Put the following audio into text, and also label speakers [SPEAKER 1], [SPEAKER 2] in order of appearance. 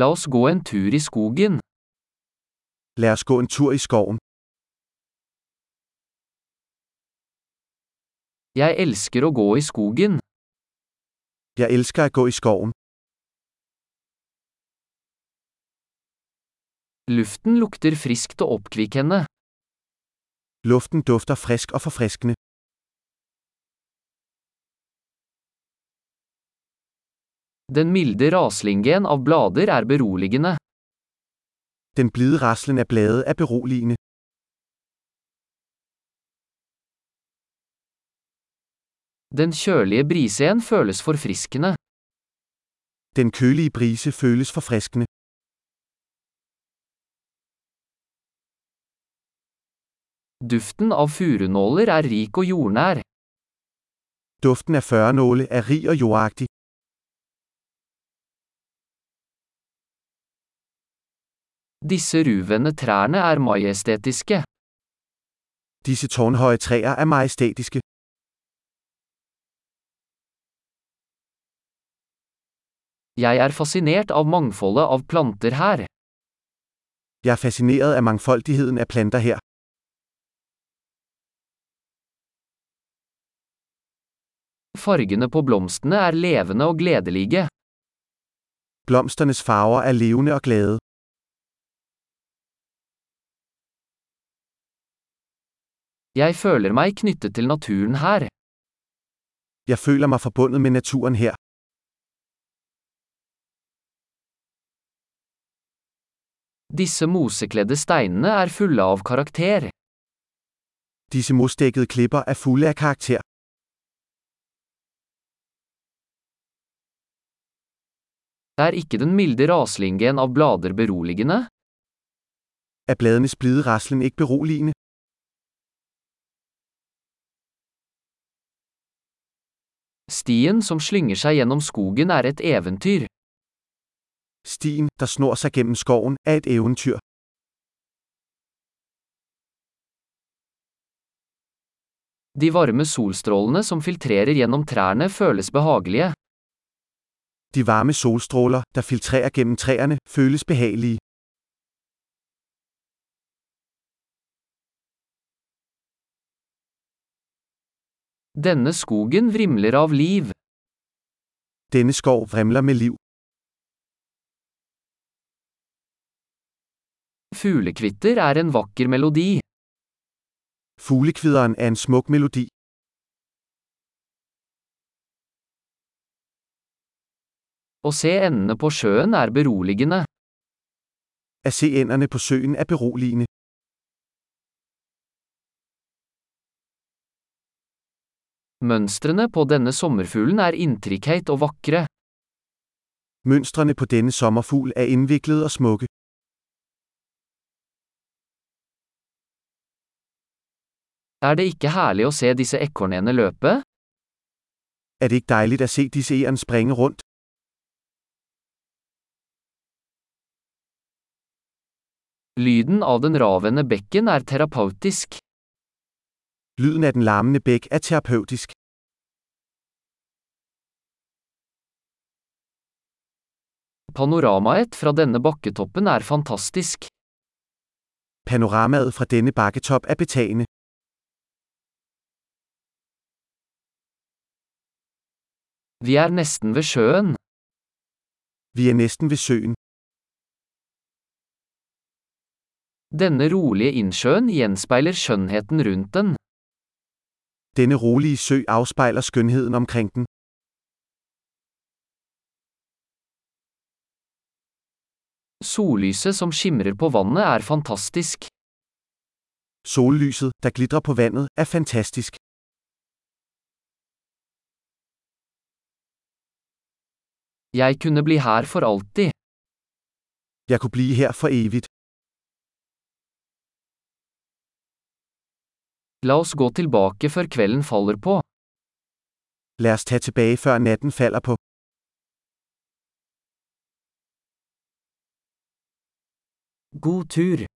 [SPEAKER 1] La oss gå en tur i skogen.
[SPEAKER 2] Lad os gå en tur i skoven.
[SPEAKER 1] Jeg elsker å gå i skogen.
[SPEAKER 2] Jeg elsker at gå i skoven.
[SPEAKER 1] Luften lukter friskt og oppkvikkende.
[SPEAKER 2] Luften dufter frisk og forfriskende.
[SPEAKER 1] Den milde raslingen av blader er beroligende.
[SPEAKER 2] Den blide raslen af blade er beroligende.
[SPEAKER 1] Den kjølige brisen føles forfriskende.
[SPEAKER 2] Den kølige brise føles forfriskende.
[SPEAKER 1] Duften av furunåler er rik og jordnær.
[SPEAKER 2] Duften af førnåle er rig og jordagtig.
[SPEAKER 1] Disse ruvende trærne er majestetiske.
[SPEAKER 2] Disse tårnhøje træer er majestætiske.
[SPEAKER 1] Jeg er fascinert av mangfoldet av planter her.
[SPEAKER 2] Jeg er fascineret af mangfoldigheden af planter her.
[SPEAKER 1] Fargene på blomstene er levende og gledelige.
[SPEAKER 2] Blomsternes farver er levende og glade.
[SPEAKER 1] Jeg føler meg knyttet til naturen her.
[SPEAKER 2] Jeg føler mig forbundet med naturen her.
[SPEAKER 1] Disse mosekledde steinene er fulle av karakter.
[SPEAKER 2] Disse mosdækkede klipper er fulde af karakter.
[SPEAKER 1] Er ikke den milde raslingen av blader beroligende?
[SPEAKER 2] Er bladenes blide raslen ikke beroligende?
[SPEAKER 1] Stien som slynger seg gjennom skogen er et eventyr.
[SPEAKER 2] Stien, der snor sig gennem skoven, er et eventyr.
[SPEAKER 1] De varme solstrålene som filtrerer gjennom trærne føles behagelige.
[SPEAKER 2] De varme solstråler, der filtrerer gennem træerne, føles behagelige.
[SPEAKER 1] Denne skogen vrimler av liv.
[SPEAKER 2] Denne skov vrimler med liv.
[SPEAKER 1] Fuglekvitter er en vakker melodi.
[SPEAKER 2] Fuglekvideren er en smuk melodi.
[SPEAKER 1] Å se endene på sjøen er beroligende.
[SPEAKER 2] At se enderne på søen er beroligende.
[SPEAKER 1] Mønstrene på denne sommerfuglen er intrikate og vakre.
[SPEAKER 2] Mønstrene på denne sommerfugl er indviklede og smukke.
[SPEAKER 1] Er det ikke herlig å se disse ekornene løpe?
[SPEAKER 2] Er det ikke dejligt at se disse egern springe rundt?
[SPEAKER 1] Lyden av den ravende bekken er terapeutisk.
[SPEAKER 2] Lyden af den larmende bæk er terapeutisk.
[SPEAKER 1] Panoramaet fra denne bakketoppen er fantastisk.
[SPEAKER 2] Panoramaet fra denne bakketop er betagende.
[SPEAKER 1] Vi er nesten ved sjøen.
[SPEAKER 2] Vi er næsten ved søen.
[SPEAKER 1] Denne rolige innsjøen gjenspeiler skjønnheten rundt den.
[SPEAKER 2] Denne rolige sø afspejler skønheden omkring den.
[SPEAKER 1] Sollyset som skimrer på vannet er fantastisk.
[SPEAKER 2] Sollyset, der glitrer på vandet, er fantastisk.
[SPEAKER 1] Jeg kunne bli her for alltid.
[SPEAKER 2] Jeg kunne blive her for evigt.
[SPEAKER 1] La oss gå tilbake før kvelden faller på.
[SPEAKER 2] Lad os tage tilbage, før natten falder på.
[SPEAKER 1] God tur!